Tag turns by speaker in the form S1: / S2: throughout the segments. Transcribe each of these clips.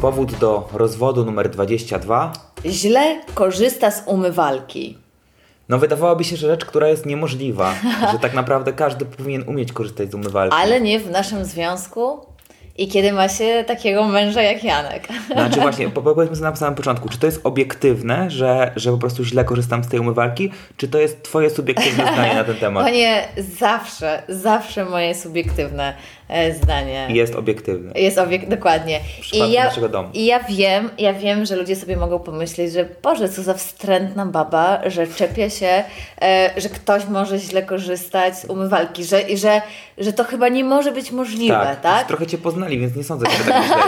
S1: Powód do rozwodu numer 22.
S2: Źle korzysta z umywalki.
S1: No wydawałoby się, że rzecz, która jest niemożliwa, że tak naprawdę każdy powinien umieć korzystać z umywalki.
S2: Ale nie w naszym związku i kiedy ma się takiego męża jak Janek.
S1: Znaczy właśnie, po- powiedzmy sobie na samym początku, czy to jest obiektywne, że, że po prostu źle korzystam z tej umywalki, czy to jest twoje subiektywne zdanie na ten temat?
S2: To nie zawsze, zawsze moje subiektywne e, zdanie.
S1: Jest obiektywne.
S2: Jest obiekt, dokładnie.
S1: przypadku naszego domu.
S2: I ja wiem, ja wiem, że ludzie sobie mogą pomyśleć, że Boże, co za wstrętna baba, że czepia się, e, że ktoś może źle korzystać z umywalki, że, i że, że to chyba nie może być możliwe, tak?
S1: Trochę cię poznali, więc nie sądzę, że tak myśleli.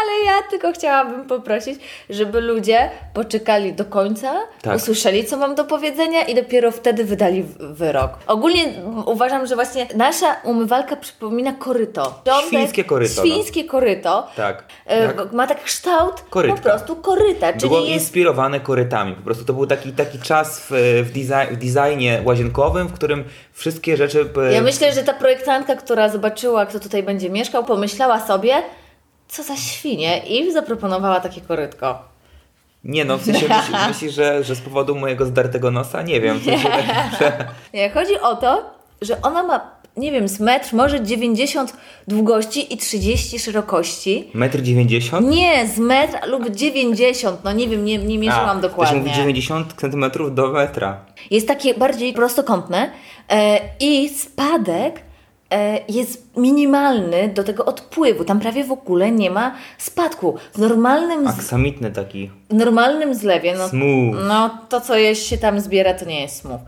S2: Ale ja tylko chciałabym poprosić, żeby ludzie poczekali do końca,
S1: Tak.
S2: usłyszeli, co mam do powiedzenia i dopiero wtedy wydali w- wyrok. Ogólnie m, uważam, że właśnie nasza umywalka przypomina koryto. Rządek-
S1: Świńskie koryto, no.
S2: Świńskie koryto.
S1: Tak.
S2: E,
S1: Jak
S2: g- Ma tak kształt
S1: Korytka.
S2: po prostu koryta, czyli
S1: Było
S2: jest
S1: inspirowane korytami. Po prostu to był taki, taki czas w, w, design, w designie łazienkowym, w którym wszystkie rzeczy. e, p-
S2: Ja myślę, że ta projektantka, która zobaczyła, kto tutaj będzie mieszkał, pomyślała sobie, co za świnie i zaproponowała takie korytko.
S1: Nie no, w sensie myślisz, myśli, że, że z powodu mojego zdartego nosa? Nie wiem. W sensie, tak że...
S2: Nie, chodzi o to, że ona ma, nie wiem, z metr, może 90 długości i 30 szerokości.
S1: Metr 90?
S2: Nie, z metr lub 90, no nie wiem, nie, nie mierzyłam
S1: A,
S2: dokładnie.
S1: Też mówi 90 cm do metra.
S2: Jest takie bardziej prostokątne e, i spadek e, jest minimalny do tego odpływu. Tam prawie w ogóle nie ma spadku. W normalnym, z,
S1: Aksamitny taki.
S2: w normalnym zlewie, no,
S1: Smooth.
S2: no to co jest, się tam zbiera, to nie jest smów.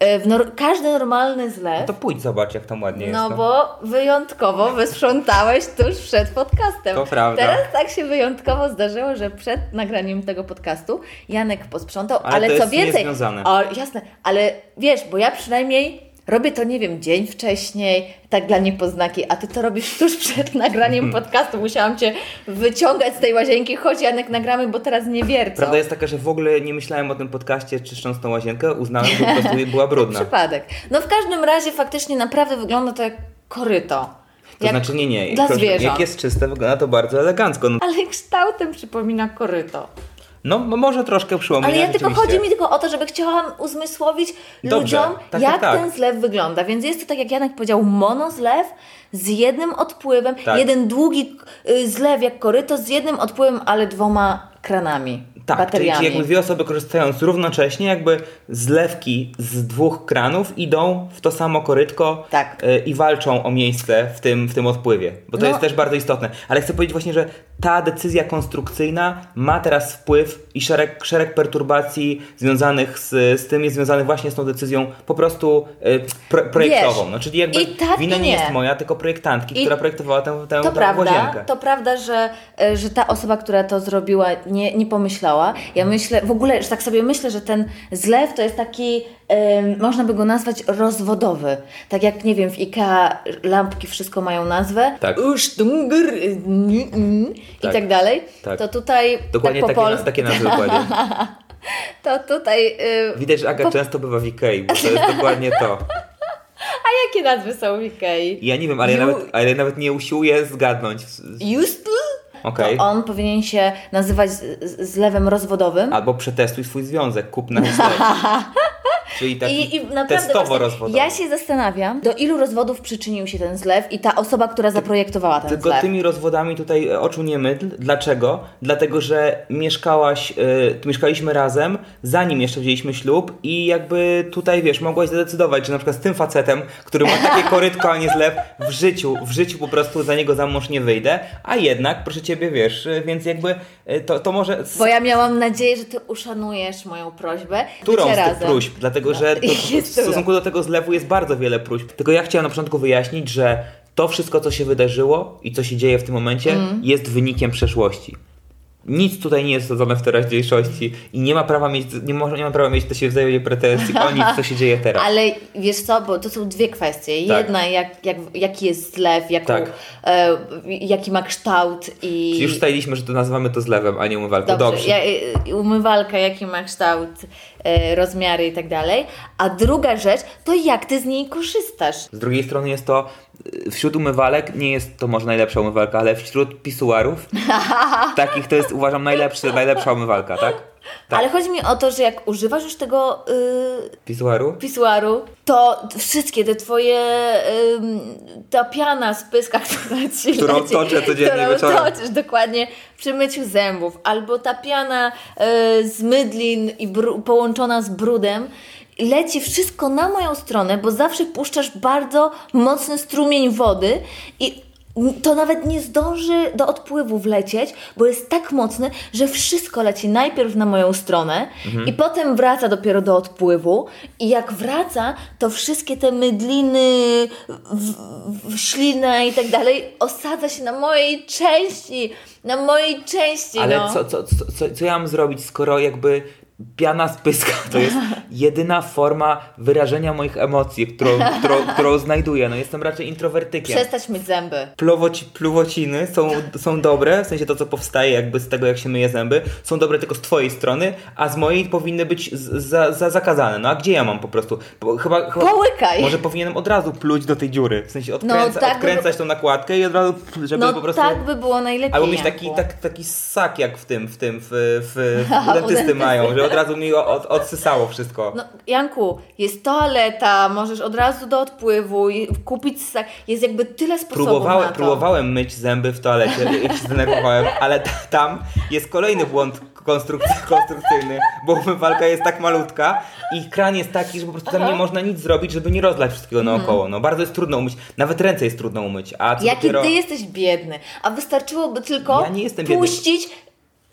S2: E, w nor- każdy normalny zlew,
S1: No To pójdź zobacz, jak tam ładnie jest.
S2: no bo wyjątkowo wysprzątałeś tuż przed podcastem.
S1: To prawda.
S2: Teraz tak się wyjątkowo zdarzyło, że przed nagraniem tego podcastu Janek posprzątał, ale,
S1: Ale to
S2: co
S1: jest
S2: więcej.
S1: niezwiązane.
S2: O, jasne, ale wiesz, bo ja przynajmniej robię to, nie wiem, dzień wcześniej, tak dla niepoznaki, a ty to robisz tuż przed nagraniem podcastu. Musiałam cię wyciągać z tej łazienki. Chodź, Janek, nagramy, bo teraz nie wiercą.
S1: Prawda jest taka, że w ogóle nie myślałem o tym podcaście czyszcząc tą łazienkę, uznałem, że po prostu była brudna.
S2: Przypadek. No w każdym razie faktycznie naprawdę wygląda to jak koryto.
S1: To
S2: jak
S1: znaczy nie, nie.
S2: Dla
S1: Proszę,
S2: zwierząt.
S1: Jak jest czyste, wygląda to bardzo elegancko. No,
S2: Ale kształtem przypomina koryto.
S1: no m- może troszkę przypomina
S2: Ale ja tylko
S1: rzeczywiście.
S2: chodzi mi tylko o to, żeby chciałam uzmysłowić
S1: Dobrze,
S2: ludziom,
S1: tak,
S2: jak
S1: tak, tak.
S2: ten zlew wygląda. Więc jest to tak, jak Janek powiedział, monozlew z jednym odpływem,
S1: Tak.
S2: jeden długi y, zlew jak koryto z jednym odpływem, ale dwoma kranami,
S1: Tak, czyli,
S2: bateriami.
S1: czyli jakby dwie osoby korzystając równocześnie, jakby zlewki z dwóch kranów idą w to samo korytko
S2: Tak.
S1: e, i walczą o miejsce w tym, w tym odpływie, bo to
S2: No.
S1: jest też bardzo istotne. Ale chcę powiedzieć właśnie, że ta decyzja konstrukcyjna ma teraz wpływ i szereg, szereg perturbacji związanych z, z tym jest związanych właśnie z tą decyzją po prostu e, pro, projektową. no, czyli jakby
S2: i tak,
S1: wina
S2: i
S1: nie.
S2: nie.
S1: jest moja, tylko projektantki,
S2: I-
S1: która projektowała tę, tę,
S2: To
S1: tę
S2: prawda,
S1: łazienkę.
S2: to prawda, że, e, że ta osoba, która to zrobiła, nie, nie pomyślała. Ja myślę, w ogóle, że tak sobie myślę, że ten zlew to jest taki, em, można by go nazwać rozwodowy. Tak jak, nie wiem, w IKEA lampki wszystko mają nazwę.
S1: Tak.
S2: Usztungr, n- n- i
S1: Tak.
S2: tak dalej.
S1: Tak.
S2: To tutaj,
S1: Dokładnie
S2: tak po
S1: takie,
S2: polsku,
S1: takie nazwy kładzie.
S2: to tutaj, y,
S1: Widać, że Aga często bywa w Ikei, bo to jest dokładnie to.
S2: jakie nazwy są w IKEA?
S1: Ja nie wiem, ale ja
S2: You-
S1: nawet, ale ja nawet nie usiłuję zgadnąć. S- s-
S2: Justl?
S1: Okej.
S2: To on powinien się nazywać z- z- zlewem rozwodowym.
S1: Albo przetestuj swój związek, kup na zlek. Czyli taki
S2: I, i naprawdę
S1: testowo
S2: właśnie,
S1: rozwodowy.
S2: Ja się zastanawiam, do ilu rozwodów przyczynił się ten zlew i ta osoba, która zaprojektowała ten
S1: Tylko
S2: zlew.
S1: tymi rozwodami tutaj e, oczu nie mydl. Dlaczego? Dlatego, że mieszkałaś, e, tu mieszkaliśmy razem, zanim jeszcze wzięliśmy ślub i jakby tutaj, wiesz, mogłaś zadecydować, że na przykład z tym facetem, który ma takie korytko, a nie zlew, w życiu, w życiu po prostu za niego za mąż nie wyjdę, a jednak, proszę Ciebie, wiesz, e, więc jakby e, to, to może... s-
S2: Bo ja miałam nadzieję, że ty uszanujesz moją prośbę.
S1: Którą
S2: Bycie
S1: z tych
S2: razem.
S1: próśb? Dlatego, że
S2: No,
S1: to,
S2: jest
S1: w stosunku do tego zlewu jest bardzo wiele próśb. Tylko ja chciałam na początku wyjaśnić, że to wszystko, co się wydarzyło i co się dzieje w tym momencie,
S2: Mm.
S1: jest wynikiem przeszłości. Nic tutaj nie jest osadzone w teraźniejszości i nie ma prawa mieć, nie, może, nie ma prawa mieć do siebie wzajemnie pretensji o nic, co się dzieje teraz.
S2: Ale wiesz co, bo to są dwie kwestie.
S1: Tak.
S2: Jedna, jak, jak, jaki jest zlew, jaką,
S1: Tak.
S2: e, jaki ma kształt i...
S1: Już ustaliliśmy, że to nazywamy to zlewem, a nie umywalką. Dobrze.
S2: Ja, y, y, umywalka, jaki ma kształt, y, rozmiary i tak dalej. A druga rzecz, to jak ty z niej korzystasz.
S1: Z drugiej strony jest to, y, wśród umywalek, nie jest to może najlepsza umywalka, ale wśród pisuarów, takich to jest uważam najlepszy, najlepsza umywalka, tak? Tak.
S2: Ale chodzi mi o to, że jak używasz już tego y,
S1: Pisuaru?
S2: pisuaru, to wszystkie te twoje, ym, ta piana z pyska, która ci
S1: Którą
S2: leci,
S1: toczę codziennie
S2: którą
S1: wieczorem.
S2: toczysz, dokładnie, przy myciu zębów, albo ta piana y, z mydlin i bru- połączona z brudem, leci wszystko na moją stronę, bo zawsze puszczasz bardzo mocny strumień wody i to nawet nie zdąży do odpływu wlecieć, bo jest tak mocny, że wszystko leci najpierw na moją stronę
S1: Mhm.
S2: i potem wraca dopiero do odpływu. I jak wraca, to wszystkie te mydliny, w, w, ślina i tak dalej osadza się na mojej części. Na mojej części.
S1: Ale
S2: no.
S1: co, co, co, co, co ja mam zrobić, skoro jakby piana z pyska to jest jedyna forma wyrażenia moich emocji, którą, którą, którą znajduję. No jestem raczej introwertykiem.
S2: Przestać myć zęby.
S1: Plowoci, pluwociny są, są dobre, w sensie to, co powstaje jakby z tego, jak się myje zęby, są dobre tylko z twojej strony, a z mojej powinny być z, za, za zakazane. No a gdzie ja mam po prostu? Bo Chyba, chyba
S2: Połykaj.
S1: Może powinienem od razu pluć do tej dziury, w sensie odkręca,
S2: tak by-
S1: odkręcać tą nakładkę i od razu, żeby
S2: No
S1: po prostu...
S2: tak by było najlepiej.
S1: Albo mieć
S2: Janku.
S1: taki, tak, taki sak jak w tym, w tym, w, w, w u dentysty mają, że od razu mi od, odsysało wszystko.
S2: No, Janku, jest toaleta, możesz od razu do odpływu i kupić sak. Jest jakby tyle sposobów na
S1: Próbowałem,
S2: to.
S1: próbowałem myć zęby w toalecie, jak się zdenerwowałem, ale t- tam jest kolejny błąd konstrukc- konstrukcyjny, bo umywalka jest tak malutka i kran jest taki, że po prostu tam nie można nic zrobić, żeby nie rozlać wszystkiego naokoło. No bardzo jest trudno umyć, nawet ręce jest trudno umyć, a co
S2: Mhm. Jaki
S1: dopiero...
S2: ty jesteś biedny, a wystarczyłoby tylko
S1: Ja nie jestem biedny.
S2: puścić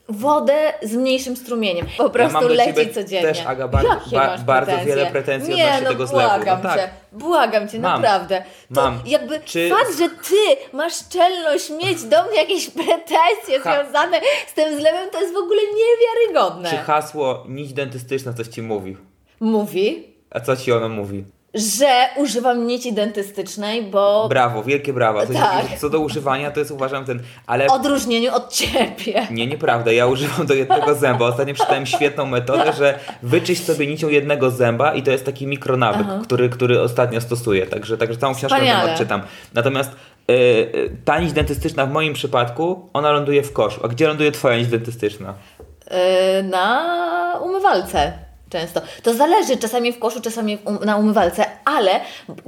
S2: wodę z mniejszym strumieniem. Po prostu
S1: mam do
S2: leci
S1: ciebie
S2: codziennie.
S1: też, Aga, bardzo-
S2: Jakie
S1: ba-
S2: masz
S1: bardzo
S2: pretensje?
S1: wiele pretensji
S2: nie,
S1: odnośnie
S2: no,
S1: tego zlewu. No
S2: błagam
S1: tak.
S2: cię, błagam cię,
S1: Mam.
S2: naprawdę. To
S1: Mam.
S2: jakby
S1: Czy-
S2: fakt, że ty masz czelność mieć do mnie jakieś pretensje
S1: Ha-
S2: związane z tym zlewem, to jest w ogóle niewiarygodne.
S1: Czy hasło nić dentystyczna coś ci mówi?
S2: Mówi,
S1: A co ci ono mówi?
S2: że używam nici dentystycznej, bo
S1: Brawo, wielkie brawa. To jest-
S2: Tak.
S1: Co do używania, to jest uważam ten, ale...
S2: w odróżnieniu od ciebie.
S1: Nie, nieprawda, ja używam do jednego zęba. Ostatnio przeczytałem świetną metodę, że wyczyść sobie nicią jednego zęba i to jest taki mikronawyk, który, który ostatnio stosuję. Także, także całą książkę o tym
S2: Wspaniale.
S1: odczytam. Natomiast yy, yy, ta nić dentystyczna w moim przypadku, ona ląduje w koszu. A gdzie ląduje twoja nić dentystyczna?
S2: Yy, na umywalce często. To zależy, czasami w koszu, czasami w um, na umywalce, ale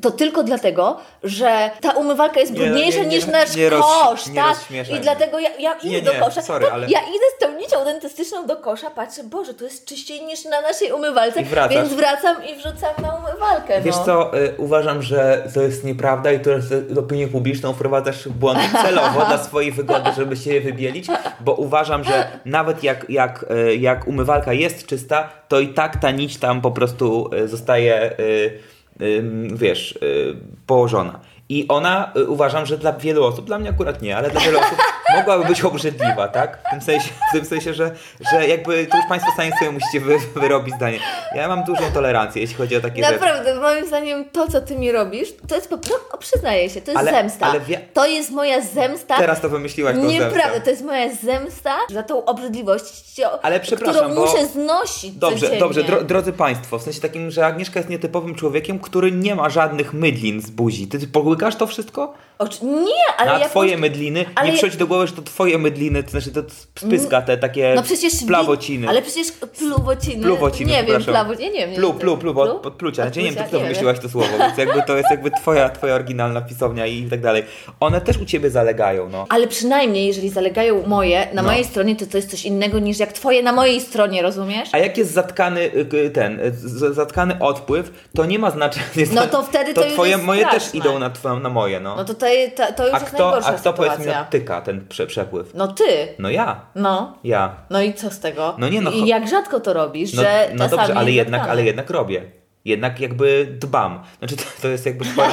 S2: to tylko dlatego, że ta umywalka jest
S1: Nie, no,
S2: brudniejsza
S1: nie, nie,
S2: niż nasz
S1: nie roz-
S2: kosz,
S1: nie
S2: tak?
S1: rozśmieszaj
S2: I
S1: mnie.
S2: dlatego ja, ja idę
S1: Nie,
S2: do
S1: nie,
S2: kosza,
S1: sorry,
S2: tak,
S1: ale-
S2: ja idę z tą nicią dentystyczną do kosza, patrzę, Boże, tu jest czyściej niż na naszej umywalce,
S1: I wracasz.
S2: więc wracam i wrzucam na umywalkę.
S1: Wiesz
S2: no.
S1: co, y, uważam, że to jest nieprawda i to jest opinię publiczną wprowadzasz w błąd celowo dla swojej wygody, żeby się wybielić, bo uważam, że nawet jak, jak, y, jak umywalka jest czysta, to i tak ta nić tam po prostu y, zostaje, y, ym, wiesz, y, położona. I ona, y, uważam, że dla wielu osób, dla mnie akurat nie, ale dla wielu osób mogłaby być obrzydliwa, tak? W tym sensie, w tym sensie że, że jakby to już Państwo sami sobie musicie wy, wyrobić zdanie. Ja mam dużą tolerancję, jeśli chodzi o takie rzeczy.
S2: Naprawdę, moim zdaniem to, co ty mi robisz, to jest po prostu, o, przyznaję się, to jest
S1: Ale-
S2: zemsta.
S1: ale wie-
S2: To jest moja zemsta.
S1: Teraz to wymyśliłaś tą
S2: Nieprawda,
S1: zemstę.
S2: to jest moja zemsta za tą obrzydliwość, cio-
S1: Ale przepraszam,
S2: którą
S1: bo-
S2: muszę znosić
S1: Dobrze,
S2: codziennie.
S1: dobrze, dro, drodzy Państwo, w sensie takim, że Agnieszka jest nietypowym człowiekiem, który nie ma żadnych mydlin z buzi. Ty pogłykasz to wszystko?
S2: Oczy- Nie, ale
S1: A
S2: ja
S1: twoje
S2: po...
S1: mydliny?
S2: ale
S1: nie
S2: ja-
S1: przychodzi do głowy, że to twoje mydliny, to znaczy to spyska te takie
S2: No przecież... wi-
S1: plawociny.
S2: Ale przecież pluwociny...
S1: Plubociny,
S2: Nie wiem,
S1: przepraszam.
S2: plawociny, nie wiem. nie
S1: Plu,
S2: wiem.
S1: plu, plu, od, od plucia. Znaczy, nie wiem,
S2: Odplucia?
S1: ty to
S2: Nie wiem.
S1: wymyśliłaś to słowo, więc jakby to jest jakby twoja, twoja oryginalna pisownia i tak dalej. One też u ciebie zalegają, no.
S2: Ale przynajmniej, jeżeli zalegają moje, na
S1: No.
S2: mojej stronie, to to jest coś innego niż jak twoje na mojej stronie, rozumiesz?
S1: A jak jest zatkany y, y, ten, y, z- zatkany odpływ, to nie ma znaczenia.
S2: No to wtedy to już
S1: twoje,
S2: jest
S1: moje też
S2: straszne.
S1: idą na, twoją- na moje, no.
S2: No to, to, to, to już
S1: a
S2: jest
S1: kto,
S2: najgorsza
S1: a kto powiedz mi
S2: sytuacja.
S1: odtyka ten prze, przepływ?
S2: No ty,
S1: No ja,
S2: no.
S1: ja.
S2: No i co z tego?
S1: No nie, no
S2: I
S1: cho-
S2: jak rzadko to robisz,
S1: No,
S2: że
S1: no
S2: czasami tak,
S1: dobrze, ale
S2: jest
S1: jednak,
S2: zatkane.
S1: ale jednak robię. jednak jakby dbam. Znaczy to, to jest jakby spore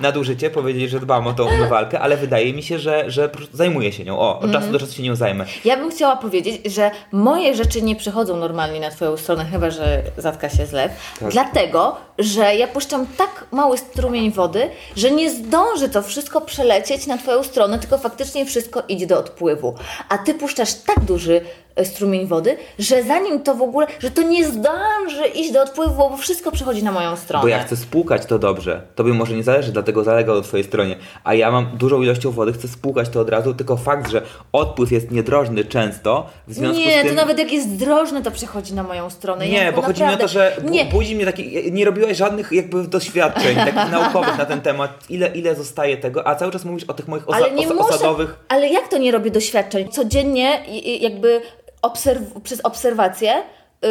S1: nadużycie powiedzieć, że dbam o tą
S2: No.
S1: umywalkę, ale wydaje mi się, że, że po prostu zajmuję się nią. O, od
S2: Mhm.
S1: czasu do czasu się nią zajmę.
S2: Ja bym chciała powiedzieć, że moje rzeczy nie przychodzą normalnie na Twoją stronę, chyba że zatka się zlew.
S1: Tak.
S2: Dlatego, że ja puszczam tak mały strumień wody, że nie zdąży to wszystko przelecieć na Twoją stronę, tylko faktycznie wszystko idzie do odpływu. A Ty puszczasz tak duży e, strumień wody, że zanim to w ogóle, że to nie zdąży iść do odpływu, bo wszystko przychodzi na moją stronę.
S1: Bo ja chcę spłukać to dobrze. Tobie może nie zależy, dlatego zalega do twojej stronie. A ja mam dużą ilością wody, chcę spłukać to od razu, tylko fakt, że odpływ jest niedrożny często, w związku
S2: Nie,
S1: z tym...
S2: to nawet jak jest drożny, to przychodzi na moją stronę.
S1: Nie,
S2: Ja
S1: bo chodzi mi o to,
S2: naprawdę-
S1: że bu-
S2: Nie,
S1: budzi mnie taki. Nie robiłaś żadnych jakby doświadczeń takich naukowych na ten temat. Ile, ile zostaje tego, a cały czas mówisz o tych moich osa-
S2: ale nie
S1: osa-
S2: muszę,
S1: osadowych.
S2: Ale jak to nie robię doświadczeń? Codziennie i- i jakby obserw- przez obserwacje y,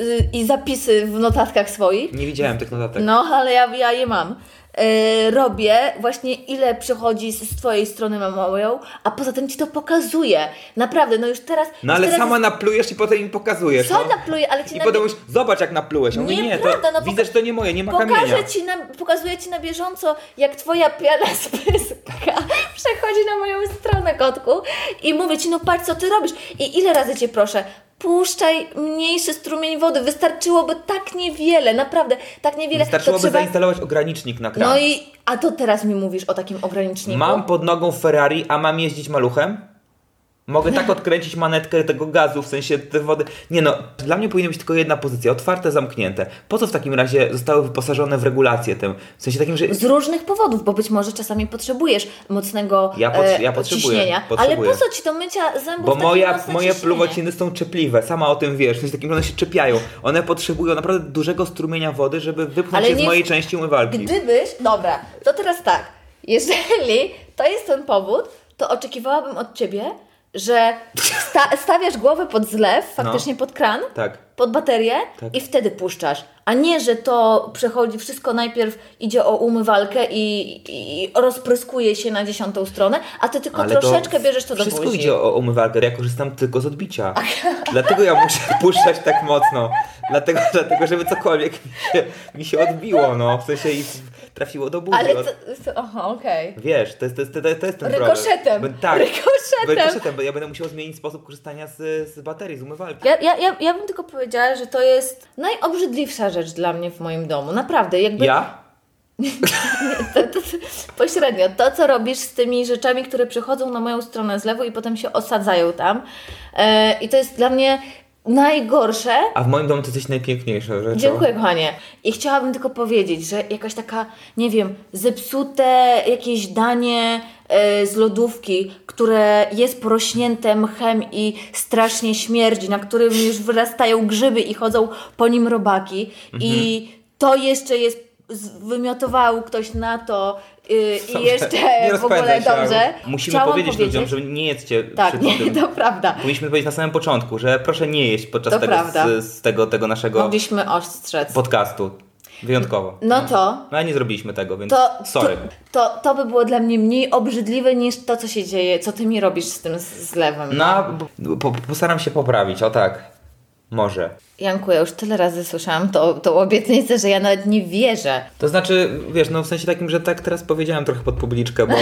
S2: y, i zapisy w notatkach swoich,
S1: Nie widziałem tych notatek.
S2: no ale ja, ja je mam, y, robię właśnie ile przychodzi z, z Twojej strony mam moją, a poza tym Ci to pokazuje. Naprawdę, no już teraz...
S1: No
S2: już
S1: ale
S2: teraz
S1: sama naplujesz i potem im pokazujesz.
S2: Co
S1: no.
S2: napluję, ale Ci
S1: I
S2: na-
S1: potem mówisz, zobacz jak naplułeś. A on mówi, nie,
S2: Nieprawda,
S1: to
S2: no
S1: widzę,
S2: poka-
S1: że to nie moje, nie ma kamienia.
S2: Pokażę ci na, pokazuję Ci na bieżąco, jak Twoja piana z pyska przechodzi na moją stronę, kotku. I mówię Ci, no patrz, co Ty robisz. I ile razy Cię proszę, puszczaj mniejszy strumień wody. Wystarczyłoby tak niewiele, naprawdę, tak niewiele.
S1: Wystarczyłoby
S2: to trzeba...
S1: zainstalować ogranicznik na kran.
S2: No i, a to teraz mi mówisz o takim ograniczniku.
S1: Mam pod nogą Ferrari, a mam jeździć maluchem? Mogę tak odkręcić manetkę tego gazu, w sensie tej wody. Nie no, dla mnie powinna być tylko jedna pozycja, otwarte, zamknięte. Po co w takim razie zostały wyposażone w regulację tym? W sensie takim, że
S2: Z różnych powodów, bo być może czasami potrzebujesz mocnego
S1: Ja pot-
S2: e,
S1: ja potrzebuję,
S2: ciśnienia.
S1: potrzebuję.
S2: Ale po co ci to mycia zębów?
S1: Bo
S2: takie
S1: moja,
S2: mocne
S1: moje
S2: ciśnienie?
S1: pluwociny są czepliwe, sama o tym wiesz, w sensie takim, że one się czepiają. One potrzebują naprawdę dużego strumienia wody, żeby wypchnąć
S2: Ale
S1: się z
S2: nie-
S1: mojej części umywalki.
S2: Gdybyś, dobra, to teraz tak. Jeżeli to jest ten powód, to oczekiwałabym od ciebie, że sta- stawiasz głowę pod zlew, faktycznie pod kran,
S1: Tak.
S2: pod baterię
S1: No. Tak.
S2: i wtedy puszczasz. A nie, że to przechodzi, wszystko najpierw idzie o umywalkę i, i, i rozpryskuje się na dziesiątą stronę, a ty tylko troszeczkę bierzesz to do
S1: Wszystko
S2: buzi.
S1: idzie o umywalkę, ja korzystam tylko z odbicia. Dlatego ja muszę puszczać tak mocno. Dlatego, dlatego żeby cokolwiek mi się, mi się odbiło, no. W sensie i trafiło do buzi.
S2: Ale
S1: Od-
S2: to, to aha, okej.
S1: Wiesz, to jest, to jest, to jest, to jest ten problem.
S2: Rykoszetem.
S1: Bo- Tak.
S2: Rykoszetem.
S1: Rykoszetem, bo ja będę musiał zmienić sposób korzystania z, z baterii, z umywalki.
S2: Ja, ja, ja, ja bym tylko powiedziała, że to jest najobrzydliwsza rzecz dla mnie w moim domu. Naprawdę, jakby
S1: Ja?
S2: to, to, pośrednio to, co robisz z tymi rzeczami, które przychodzą na moją stronę z lewu i potem się osadzają tam. E, I to jest dla mnie najgorsze.
S1: A w moim domu to coś najpiękniejsze rzeczą.
S2: Dziękuję, kochanie. I chciałabym tylko powiedzieć, że jakaś taka, nie wiem, zepsute jakieś danie e, z lodówki, które jest porośnięte mchem i strasznie śmierdzi, na którym już wyrastają grzyby i chodzą po nim robaki. I
S1: Mhm.
S2: to jeszcze jest, z- wymiotował ktoś na to y, i
S1: Dobrze, nie
S2: jeszcze w ogóle
S1: rozpędzaj się,
S2: dobrze.
S1: Agu. Musimy
S2: Chciałam
S1: powiedzieć, ludziom, że nie jedzcie
S2: Tak,
S1: przy
S2: nie,
S1: tym.
S2: to prawda.
S1: Powinniśmy powiedzieć na samym początku, że proszę nie jeść podczas
S2: To
S1: tego,
S2: prawda.
S1: z, z tego, tego naszego
S2: Mogliśmy ostrzec.
S1: podcastu. Wyjątkowo.
S2: No to
S1: No ale nie zrobiliśmy tego, więc
S2: To,
S1: sorry.
S2: To, to, to by było dla mnie mniej obrzydliwe niż to, co się dzieje, co ty mi robisz z tym z- zlewem.
S1: No, a po- po, postaram się poprawić, o tak. Może.
S2: Janku, ja już tyle razy słyszałam tą, tą obietnicę, że ja nawet nie wierzę.
S1: To znaczy, wiesz, no w sensie takim, że tak teraz powiedziałem trochę pod publiczkę, bo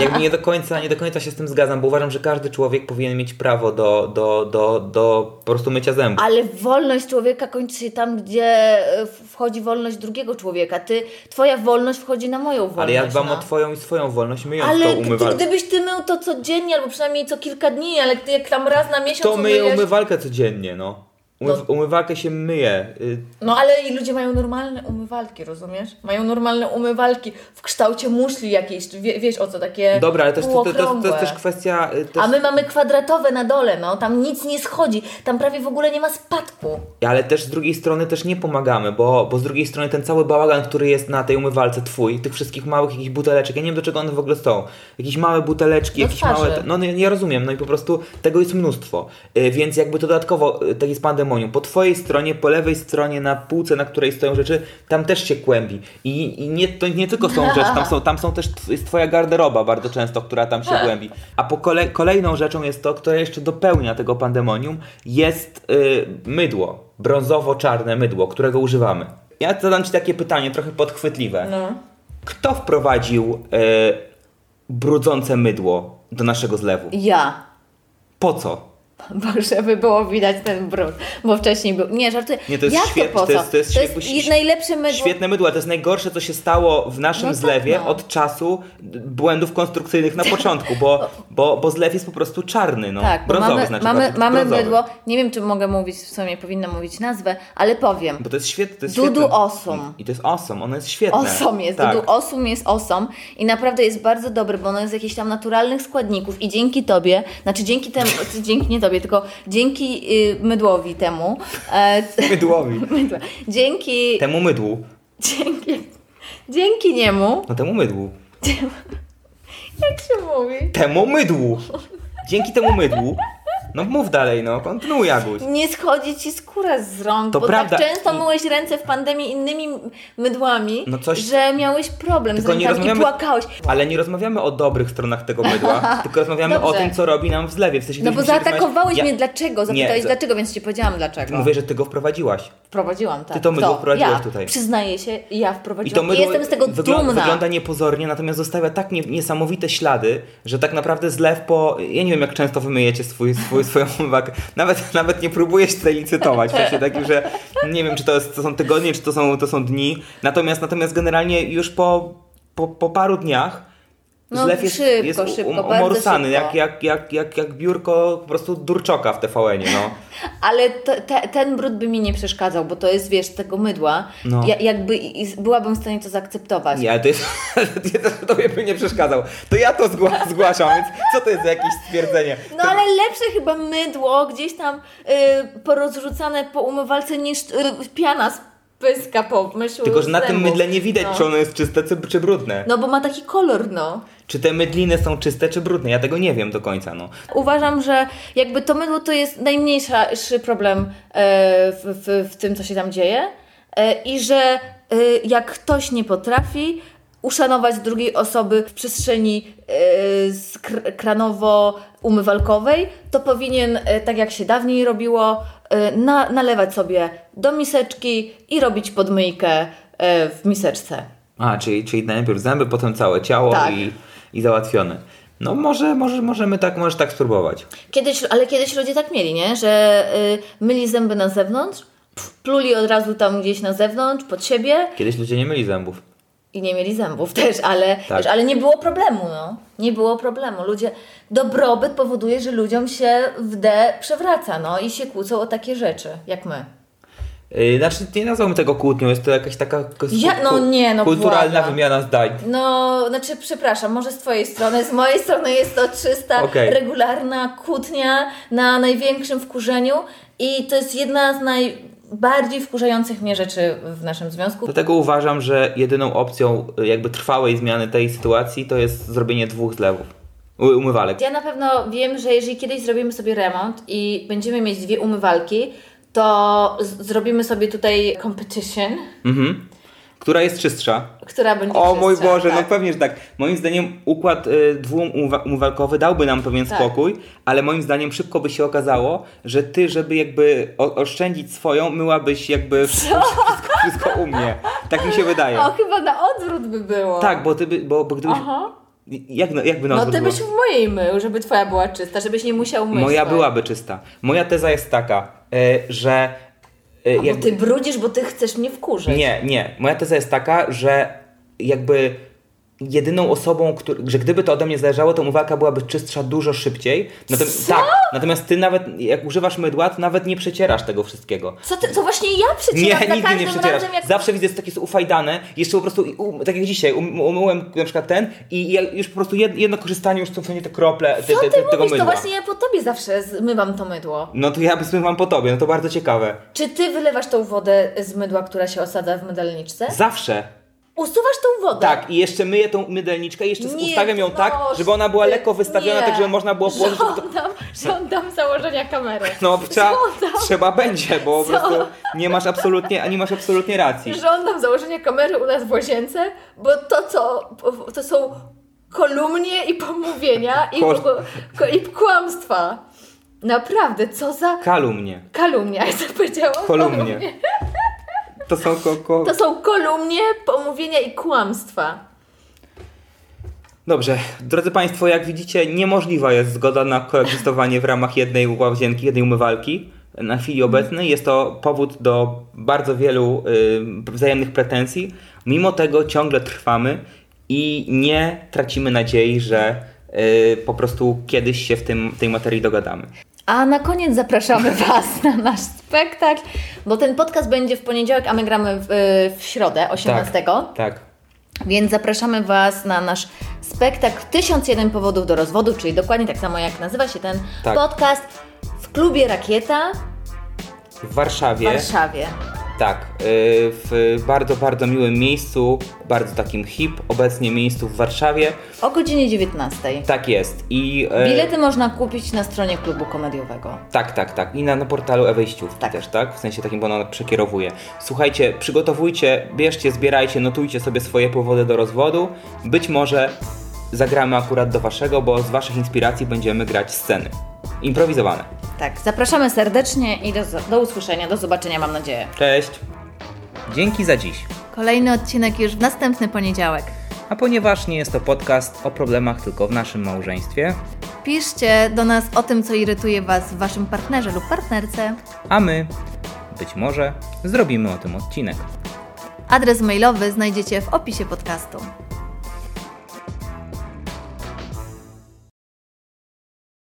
S1: jakby nie do końca, nie do końca się z tym zgadzam, bo uważam, że każdy człowiek powinien mieć prawo do, do, do, do po prostu mycia zębów.
S2: Ale wolność człowieka kończy się tam, gdzie e, wchodzi wolność drugiego człowieka. Ty, twoja wolność wchodzi na moją wolność.
S1: Ale ja dbam
S2: no.
S1: o twoją i swoją wolność, myjąc
S2: Ale
S1: tą
S2: ty,
S1: umywalkę.
S2: gdybyś ty mył to codziennie, albo przynajmniej co kilka dni, ale ty jak tam raz na miesiąc
S1: To myję
S2: umyjesz-
S1: umywalkę codziennie, no. Umyw-
S2: No.
S1: Umywalkę się myje. y,
S2: No ale i ludzie mają normalne umywalki, rozumiesz? Mają normalne umywalki w kształcie muszli jakiejś, wie, wiesz o co, takie
S1: Dobra, ale też to, to, to, to
S2: półokrągłe.
S1: jest też kwestia... y, Też
S2: A my mamy kwadratowe na dole, no, tam nic nie schodzi, tam prawie w ogóle nie ma spadku.
S1: Ale też z drugiej strony też nie pomagamy, bo, bo z drugiej strony ten cały bałagan, który jest na tej umywalce twój, tych wszystkich małych jakichś buteleczek, ja nie wiem do czego one w ogóle są. Jakieś małe buteleczki,
S2: Do
S1: jakieś
S2: twarzy.
S1: małe... No nie, nie rozumiem, no i po prostu tego jest mnóstwo. Y, więc jakby to dodatkowo y, tak jest pandemonium. Po twojej stronie, po lewej stronie, na półce, na której stoją rzeczy, tam też się kłębi. I, i nie, to nie tylko są rzeczy, tam są, tam są też, jest twoja garderoba bardzo często, która tam
S2: Tak.
S1: się głębi. A po kole, kolejną rzeczą jest to, która jeszcze dopełnia tego pandemonium, jest y, mydło, brązowo-czarne mydło, którego używamy. ja zadam ci takie pytanie, trochę podchwytliwe.
S2: No.
S1: Kto wprowadził e, brudzące mydło do naszego zlewu?
S2: Ja.
S1: Po co?
S2: Bo żeby było widać ten brud, bo wcześniej był. Nie, żarty.
S1: Nie, to jest
S2: Jak to
S1: świet-
S2: po co?
S1: to jest- to jest jakby
S2: i-
S1: ś-
S2: najlepsze mydło.
S1: Świetne mydło, ale to jest najgorsze, co się stało w naszym
S2: No tak,
S1: zlewie
S2: no.
S1: od czasu błędów konstrukcyjnych na początku, bo, bo, bo zlew jest po prostu czarny, no.
S2: Tak, bo
S1: brązowy
S2: mamy,
S1: znaczy.
S2: mamy,
S1: bardziej,
S2: mamy
S1: brązowy.
S2: mydło. Nie wiem, czy mogę mówić, w sumie powinnam mówić nazwę, ale powiem.
S1: Bo to jest świetne. To jest
S2: Dudu
S1: świetne.
S2: Osum.
S1: I to jest osom, ono jest świetne.
S2: Osom jest,
S1: tak.
S2: Dudu Osum jest osom i naprawdę jest bardzo dobry, bo ono jest z jakichś tam naturalnych składników i dzięki Tobie, znaczy dzięki temu, dzięki nie Tobie, tylko dzięki y, mydłowi temu, e,
S1: Mydłowi.
S2: mydła, dzięki,
S1: Temu mydłu.
S2: dzięki, dzięki niemu,
S1: No temu mydłu.
S2: jak się mówi,
S1: Temu mydłu. Dzięki temu mydłu. No mów dalej, no. Kontynuuj, Aguś.
S2: nie schodzi Ci skóra z rąk,
S1: To
S2: bo
S1: prawda.
S2: tak często
S1: I-
S2: myłeś ręce w pandemii innymi mydłami,
S1: No coś-
S2: że miałeś problem
S1: Tylko
S2: z
S1: nie
S2: rękami i
S1: rozmawiamy-
S2: płakałeś.
S1: Ale nie rozmawiamy o dobrych stronach tego mydła, tylko rozmawiamy o
S2: Dobrze.
S1: tym, co robi nam w zlewie. W sensie,
S2: No bo
S1: gdybyśmy się
S2: zaatakowałeś
S1: rozmawiać-
S2: mnie dlaczego, zapytałeś
S1: za-
S2: dlaczego, więc Ci powiedziałam dlaczego.
S1: Mówię, że ty go wprowadziłaś.
S2: Wprowadziłam, tak.
S1: Ty to mydło
S2: Kto?
S1: wprowadziłaś
S2: ja.
S1: tutaj.
S2: Przyznaję się, ja
S1: I to
S2: wprowadziłam. I,
S1: mydło
S2: jestem z tego
S1: wyglą-
S2: dumna.
S1: wygląda niepozornie, natomiast zostawia tak nie, niesamowite ślady, że tak naprawdę zlew po... Ja nie wiem, jak często wymyjecie swój, swój, swoją uwagę. Nawet, nawet nie próbuję się tutaj licytować. W sensie takim, że nie wiem, czy to, jest, to są tygodnie, czy to są, to są dni. Natomiast, natomiast generalnie już po, po, po paru dniach
S2: No,
S1: zlew jest,
S2: szybko,
S1: jest
S2: szybko,
S1: um,
S2: bardzo
S1: umorsany,
S2: szybko.
S1: jak, jak, jak, jak, jak biurko po prostu Durczoka w TVN-ie. No.
S2: Ale te, te, ten brud by mi nie przeszkadzał, bo to jest, wiesz, tego mydła.
S1: No.
S2: Ja, jakby i, i byłabym w stanie to zaakceptować.
S1: Nie, ale to jest. to tobie by nie przeszkadzał. To ja to zgła- zgłaszam, więc co to jest za jakieś stwierdzenie?
S2: No ale lepsze chyba mydło gdzieś tam y, porozrzucane po umywalce niż y, piana z pyska po myślu
S1: Tylko, że na tym
S2: zębów.
S1: mydle nie widać,
S2: No.
S1: czy ono jest czyste, czy, czy brudne.
S2: No bo ma taki kolor, no.
S1: Czy te mydliny są czyste, czy brudne? Ja tego nie wiem do końca, no.
S2: Uważam, że jakby to mydło to jest najmniejszy problem e, w, w, w tym, co się tam dzieje e, i że e, jak ktoś nie potrafi uszanować drugiej osoby w przestrzeni e, skr- kranowo-umywalkowej, to powinien, e, tak jak się dawniej robiło, e, na, nalewać sobie do miseczki i robić podmyjkę e, w miseczce.
S1: A, czyli, czyli najpierw zęby, potem całe ciało
S2: Tak.
S1: i, i załatwione. No może, może możemy tak, możesz tak spróbować.
S2: Kiedyś, ale kiedyś ludzie tak mieli, nie? Że y, myli zęby na zewnątrz, pf, pluli od razu tam gdzieś na zewnątrz, pod siebie
S1: Kiedyś ludzie nie myli zębów.
S2: i nie mieli zębów też, ale,
S1: Tak.
S2: wiesz, ale nie było problemu, no. Nie było problemu. Ludzie, dobrobyt powoduje, że ludziom się w D przewraca, no i się kłócą o takie rzeczy, jak my.
S1: Yy, znaczy, nie nazwałbym tego kłótnią, jest to jakaś taka kos-
S2: Ja- no
S1: ku-
S2: nie, no
S1: kulturalna
S2: błagam.
S1: wymiana zdań.
S2: No, znaczy, przepraszam, może z Twojej strony, z mojej strony jest to czysta,
S1: Okej.
S2: regularna kłótnia na największym wkurzeniu i to jest jedna z najbardziej wkurzających mnie rzeczy w naszym związku.
S1: Dlatego uważam, że jedyną opcją y, jakby trwałej zmiany tej sytuacji to jest zrobienie dwóch zlewów. U- Umywalek.
S2: Ja na pewno wiem, że jeżeli kiedyś zrobimy sobie remont i będziemy mieć dwie umywalki, to z- zrobimy sobie tutaj competition,
S1: Mhm. Która jest czystsza?
S2: która będzie
S1: O mój
S2: czystsza,
S1: Boże,
S2: tak.
S1: no pewnie, że tak. Moim zdaniem układ y, dwuumywalkowy dałby nam pewien
S2: Tak.
S1: spokój, ale moim zdaniem szybko by się okazało, że ty, żeby jakby o- oszczędzić swoją, myłabyś jakby wszystko, wszystko u mnie. Tak mi się wydaje.
S2: O, chyba na odwrót by było.
S1: Tak, bo ty by, bo, bo gdybyś...
S2: Aha.
S1: Jak, no- jakby na
S2: No
S1: odwrót
S2: ty
S1: było?
S2: byś w mojej mył, żeby twoja była czysta, żebyś nie musiał myć.
S1: Moja
S2: swojej.
S1: byłaby czysta. Moja teza jest taka, y, że... y,
S2: Bo ty brudzisz, bo ty chcesz mnie wkurzyć.
S1: Nie, nie. Moja teza jest taka, że jakby jedyną osobą, który, że gdyby to ode mnie zależało, to umywalka byłaby czystsza dużo szybciej. Natom- Tak, natomiast ty nawet, jak używasz mydła, to nawet nie przecierasz tego wszystkiego.
S2: Co ty, to właśnie ja
S1: Nie,
S2: przecieram za
S1: nigdy nie
S2: każdym
S1: przecierasz.
S2: razem, jak...
S1: Zawsze widzę, że takie jest ufajdane. Jeszcze po prostu, i um, tak jak dzisiaj, um, umyłem na przykład ten i ja już po prostu jed, jedno korzystanie już są wszędzie te krople te,
S2: Co
S1: te,
S2: ty
S1: te, tego
S2: mówisz? To
S1: mydła.
S2: właśnie ja po tobie zawsze zmywam to mydło.
S1: No to ja wam po tobie, no to bardzo ciekawe.
S2: Czy ty wylewasz tą wodę z mydła, która się osadza w mydelniczce?
S1: Zawsze
S2: Usuwasz tą wodę?
S1: Tak, i jeszcze myję tą mydelniczkę i jeszcze
S2: Nie,
S1: ustawiam ją tak,
S2: proszę,
S1: żeby ona była lekko wystawiona,
S2: nie.
S1: tak żeby można było położyć. żeby to-
S2: Żądam, żądam założenia kamery.
S1: No, trzeba,
S2: Żądam,
S1: trzeba będzie, bo po
S2: Co?
S1: prostu nie masz absolutnie, ani masz absolutnie racji.
S2: żądam założenia kamery u nas w łazience, bo to co, to są kolumnie i pomówienia i,
S1: Ko-
S2: ko- i kłamstwa. Naprawdę, co za
S1: Kalumnie.
S2: kalumnia, jak to powiedziałam?
S1: Kolumnie. To są ko- ko-
S3: To są kolumnie, pomówienia i kłamstwa.
S1: Dobrze, drodzy Państwo, jak widzicie, niemożliwa jest zgoda na koegzystowanie w ramach jednej łazienki, jednej umywalki. Na chwili obecnej jest to powód do bardzo wielu y, wzajemnych pretensji. Mimo tego ciągle trwamy i nie tracimy nadziei, że y, po prostu kiedyś się w tym, tej materii dogadamy.
S2: A na koniec zapraszamy Was na nasz spektakl, bo ten podcast będzie w poniedziałek, a my gramy w, y, w środę, 18.
S1: Tak.
S2: Więc zapraszamy Was na nasz spektakl 1001 powodów do rozwodu, czyli dokładnie tak samo jak nazywa się ten
S1: Tak.
S2: podcast w klubie Rakieta
S1: W
S2: w
S1: Warszawie.
S2: Warszawie.
S1: Tak, y, w bardzo, bardzo miłym miejscu, bardzo takim hip, obecnie miejscu w Warszawie.
S2: O godzinie 19.
S1: Tak jest. I, y,
S2: Bilety można kupić na stronie klubu komediowego.
S1: Tak, tak, tak. I na, na portalu e-wejściówki
S2: Tak.
S1: też, tak? W sensie takim, bo ona przekierowuje. Słuchajcie, przygotowujcie, bierzcie, zbierajcie, notujcie sobie swoje powody do rozwodu. Być może zagramy akurat do waszego, bo z waszych inspiracji będziemy grać sceny. Improwizowane.
S2: Tak, zapraszamy serdecznie i do, do usłyszenia, do zobaczenia, mam nadzieję.
S1: Cześć! Dzięki za dziś.
S2: Kolejny odcinek już w następny poniedziałek.
S1: A ponieważ nie jest to podcast o problemach tylko w naszym małżeństwie,
S2: Piszcie do nas o tym, co irytuje Was w Waszym partnerze lub partnerce.
S1: a my, być może, zrobimy o tym odcinek.
S2: Adres mailowy znajdziecie w opisie podcastu.